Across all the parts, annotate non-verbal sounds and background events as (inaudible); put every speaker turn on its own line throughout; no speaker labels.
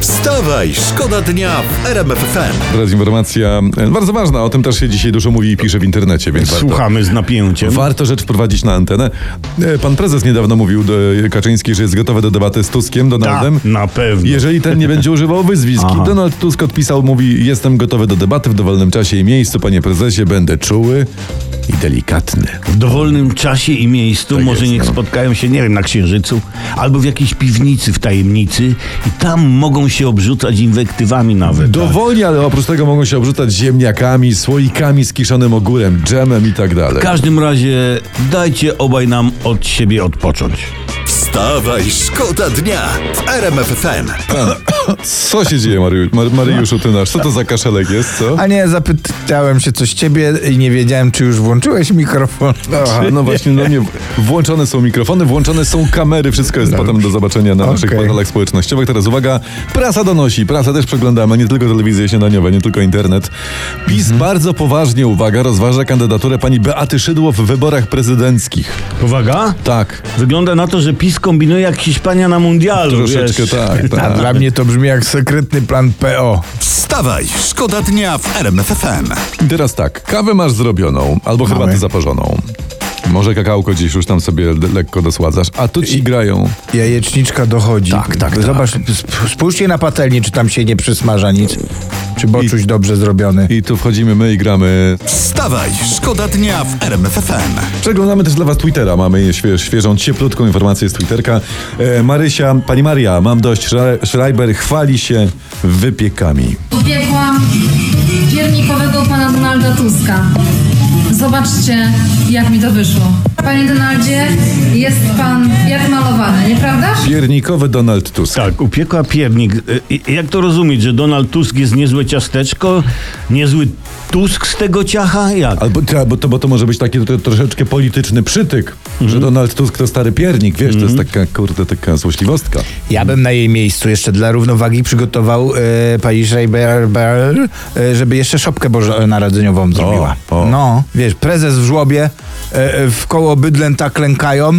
Wstawaj, szkoda dnia w RMF FM.
Teraz informacja e, bardzo ważna, o tym też się dzisiaj dużo mówi i pisze w internecie, więc warto,
Słuchamy z napięciem.
warto rzecz wprowadzić na antenę. E, Pan prezes niedawno mówił do e, Kaczyński, że jest gotowy do debaty z Tuskiem,
Ta,
Donaldem.
Tak, na pewno.
Jeżeli ten nie będzie używał wyzwisk.
Aha.
Donald Tusk odpisał, mówi, jestem gotowy do debaty w dowolnym czasie i miejscu, panie prezesie, będę czuły i delikatny.
W dowolnym czasie i miejscu może
jest,
niech
no.
spotkają się, nie wiem, na Księżycu albo w jakiejś piwnicy w tajemnicy i tam mogą się obrzucać inwektywami nawet. Tak.
Dowoli, ale oprócz tego mogą się obrzucać ziemniakami, słoikami z kiszonym ogórem, dżemem i tak dalej.
W każdym razie dajcie obaj nam od siebie odpocząć.
Wstawaj, szkoda dnia w RMF FM.
Co się dzieje, Mariusz? Mar- Mariuszu, ty nasz, co to za kaszelek jest, co?
A nie, zapytałem się coś ciebie i nie wiedziałem, czy już włączyłeś mikrofon.
Aha, no właśnie, no nie. Włączone są mikrofony, włączone są kamery, wszystko jest potem do zobaczenia na naszych
Okej.
portalach społecznościowych. Teraz uwaga, prasa donosi, prasa też przeglądamy, nie tylko telewizje śniadaniowe, nie tylko internet. PiS bardzo poważnie, uwaga, rozważa kandydaturę pani Beaty Szydło w wyborach prezydenckich.
Uwaga!
Tak,
Wygląda na to, że PiS kombinuje jak Hiszpania na mundialu.
troszeczkę
wiesz.
tak,
(laughs)
tak.
Dla mnie to brzmi jak sekretny plan PO.
Wstawaj, szkoda dnia w RMF FM.
I teraz tak, kawę masz zrobioną, albo herbatę zaparzoną. Może kakałko dziś już tam sobie d- lekko dosładzasz, a tu ci grają.
Jajeczniczka dochodzi.
Tak, tak, tak.
Zobacz, sp- spójrzcie na patelnię, czy tam się nie przysmaża nic. Czy boczuś dobrze zrobiony.
I tu wchodzimy my i gramy
Wstawaj, szkoda dnia w RMF FM.
Przeglądamy też dla Was Twittera. Mamy świe- świeżą, cieplutką informację z Twitterka. E, Marysia, pani Maria, mam dość. Schre- Schreiber chwali się wypiekami.
Ubiegłam piernikowego pana Donalda Tuska. Zobaczcie, jak mi to wyszło. Panie Donaldzie, jest pan jak malowany, nieprawdaż?
Piernikowy Donald Tusk.
Tak, upiekła piernik. Y, y, Jak to rozumieć, że Donald Tusk jest niezłe ciasteczko, niezły Tusk z tego ciacha? Jak?
Albo, ta- bo, to, bo to może być taki tro, troszeczkę polityczny przytyk, że Donald Tusk to stary piernik, wiesz, to jest taka, kurde, taka złośliwostka.
Ja bym na jej miejscu jeszcze dla równowagi przygotował e, pani Schreiber, Ber- e, żeby jeszcze szopkę bożonarodzeniową zrobiła.
o.
No, wiesz, prezes w żłobie, e, e, w koło bydlęta klękają,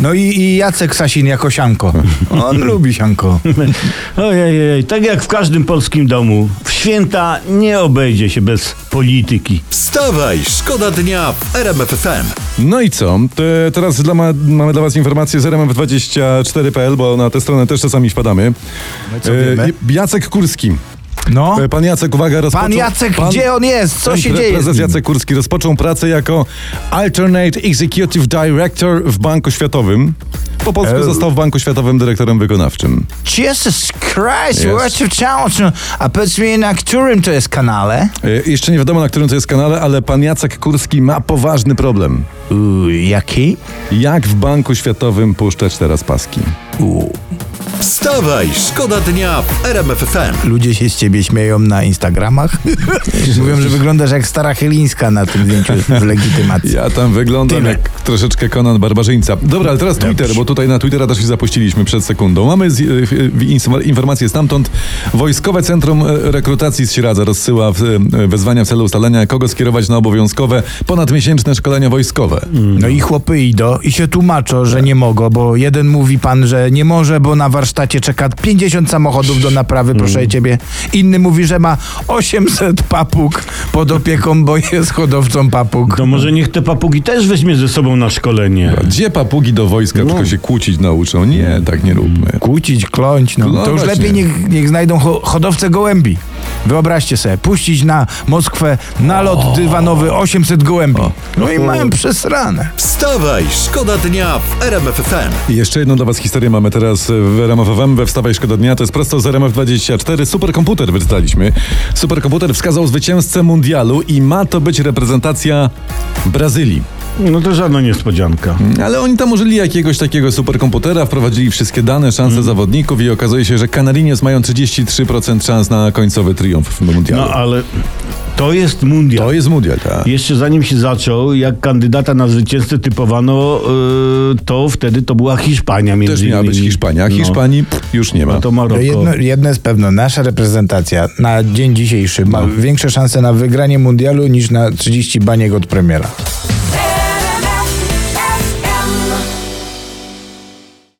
no i, i Jacek Sasin jako sianko.
(laughs)
On lubi sianko.
Ojej, ojej, tak jak w każdym polskim domu, w święta nie obejdzie się bez polityki.
Wstawaj, szkoda dnia w RMF FM.
No i co? Te, teraz dla ma, mamy dla Was informację z rmf24.pl, bo na tę stronę też czasami wpadamy. No E,
co wiemy?
Jacek Kurski.
No,
E, Pan Jacek, uwaga, rozpoczął...
pan Jacek,
Pan-
gdzie on jest? Co
Pan
się
pre-
dzieje? z
Prezes
nim?
Jacek Kurski rozpoczął pracę jako Alternate Executive Director w Banku Światowym. Po polsku
Ew.
został w Banku Światowym dyrektorem wykonawczym.
Jesus Christ,
Jest.
what you challenge? A powiedz mi, na którym to jest kanale?
E, Jeszcze nie wiadomo, na którym to jest kanale, ale pan Jacek Kurski ma poważny problem.
Uuu, jaki?
Jak w Banku Światowym puszczać teraz paski?
Wstawaj, szkoda dnia w RMF FM.
Ludzie się z ciebie śmieją na Instagramach. (laughs) Mówią, że wyglądasz jak stara Chylińska na tym zdjęciu w legitymacji.
Ja tam wyglądam
Tyle.
jak troszeczkę Konan Barbarzyńca. Dobra, ale teraz Twitter, bo tutaj na Twittera też się zapuściliśmy przed sekundą. Mamy z, y, y, ins- informację stamtąd. Wojskowe Centrum y, Rekrutacji z Śradza rozsyła w, y, wezwania w celu ustalenia, kogo skierować na obowiązkowe ponadmiesięczne szkolenia wojskowe.
No i chłopy idą i się tłumaczą, że nie mogą, bo jeden mówi pan, że nie może, bo na warsztacie czeka 50 samochodów do naprawy, proszę ciebie. Inny mówi, że ma 800 papug pod opieką, bo jest hodowcą papug.
To może niech te papugi też weźmie ze sobą na szkolenie.
Gdzie papugi do wojska tylko się kłócić nauczą? Nie, tak nie róbmy.
Kłócić, kląć, no.
No
to już
właśnie.
lepiej niech, niech znajdą ho- hodowcę gołębi. Wyobraźcie sobie, puścić na Moskwę nalot dywanowy 800 gołębi. No i mają przesrane.
No
Wstawaj, szkoda dnia w RMF FM.
I jeszcze jedną dla Was historię mamy teraz w RMF FM, we Wstawaj Szkoda Dnia. To jest prosto z RMF24. Superkomputer wyczytaliśmy. Superkomputer wskazał zwycięzcę mundialu i ma to być reprezentacja Brazylii.
No to żadna niespodzianka.
Ale oni tam użyli jakiegoś takiego superkomputera, wprowadzili wszystkie dane, szanse
Mhm.
zawodników i okazuje się, że Canarinos mają 33% szans na końcowy triumf w mundialu.
No ale to jest mundial.
To jest mundial, tak.
Jeszcze zanim się zaczął, jak kandydata na zwycięzcę typowano, y, to wtedy to była Hiszpania między
Też miała być
innymi.
Hiszpania, a
No.
Hiszpanii pff, już nie ma.
No to
No
Maroko.
jedno, jedno jest pewne, nasza reprezentacja
No.
na dzień dzisiejszy ma większe szanse na wygranie mundialu niż na 30 baniek od premiera.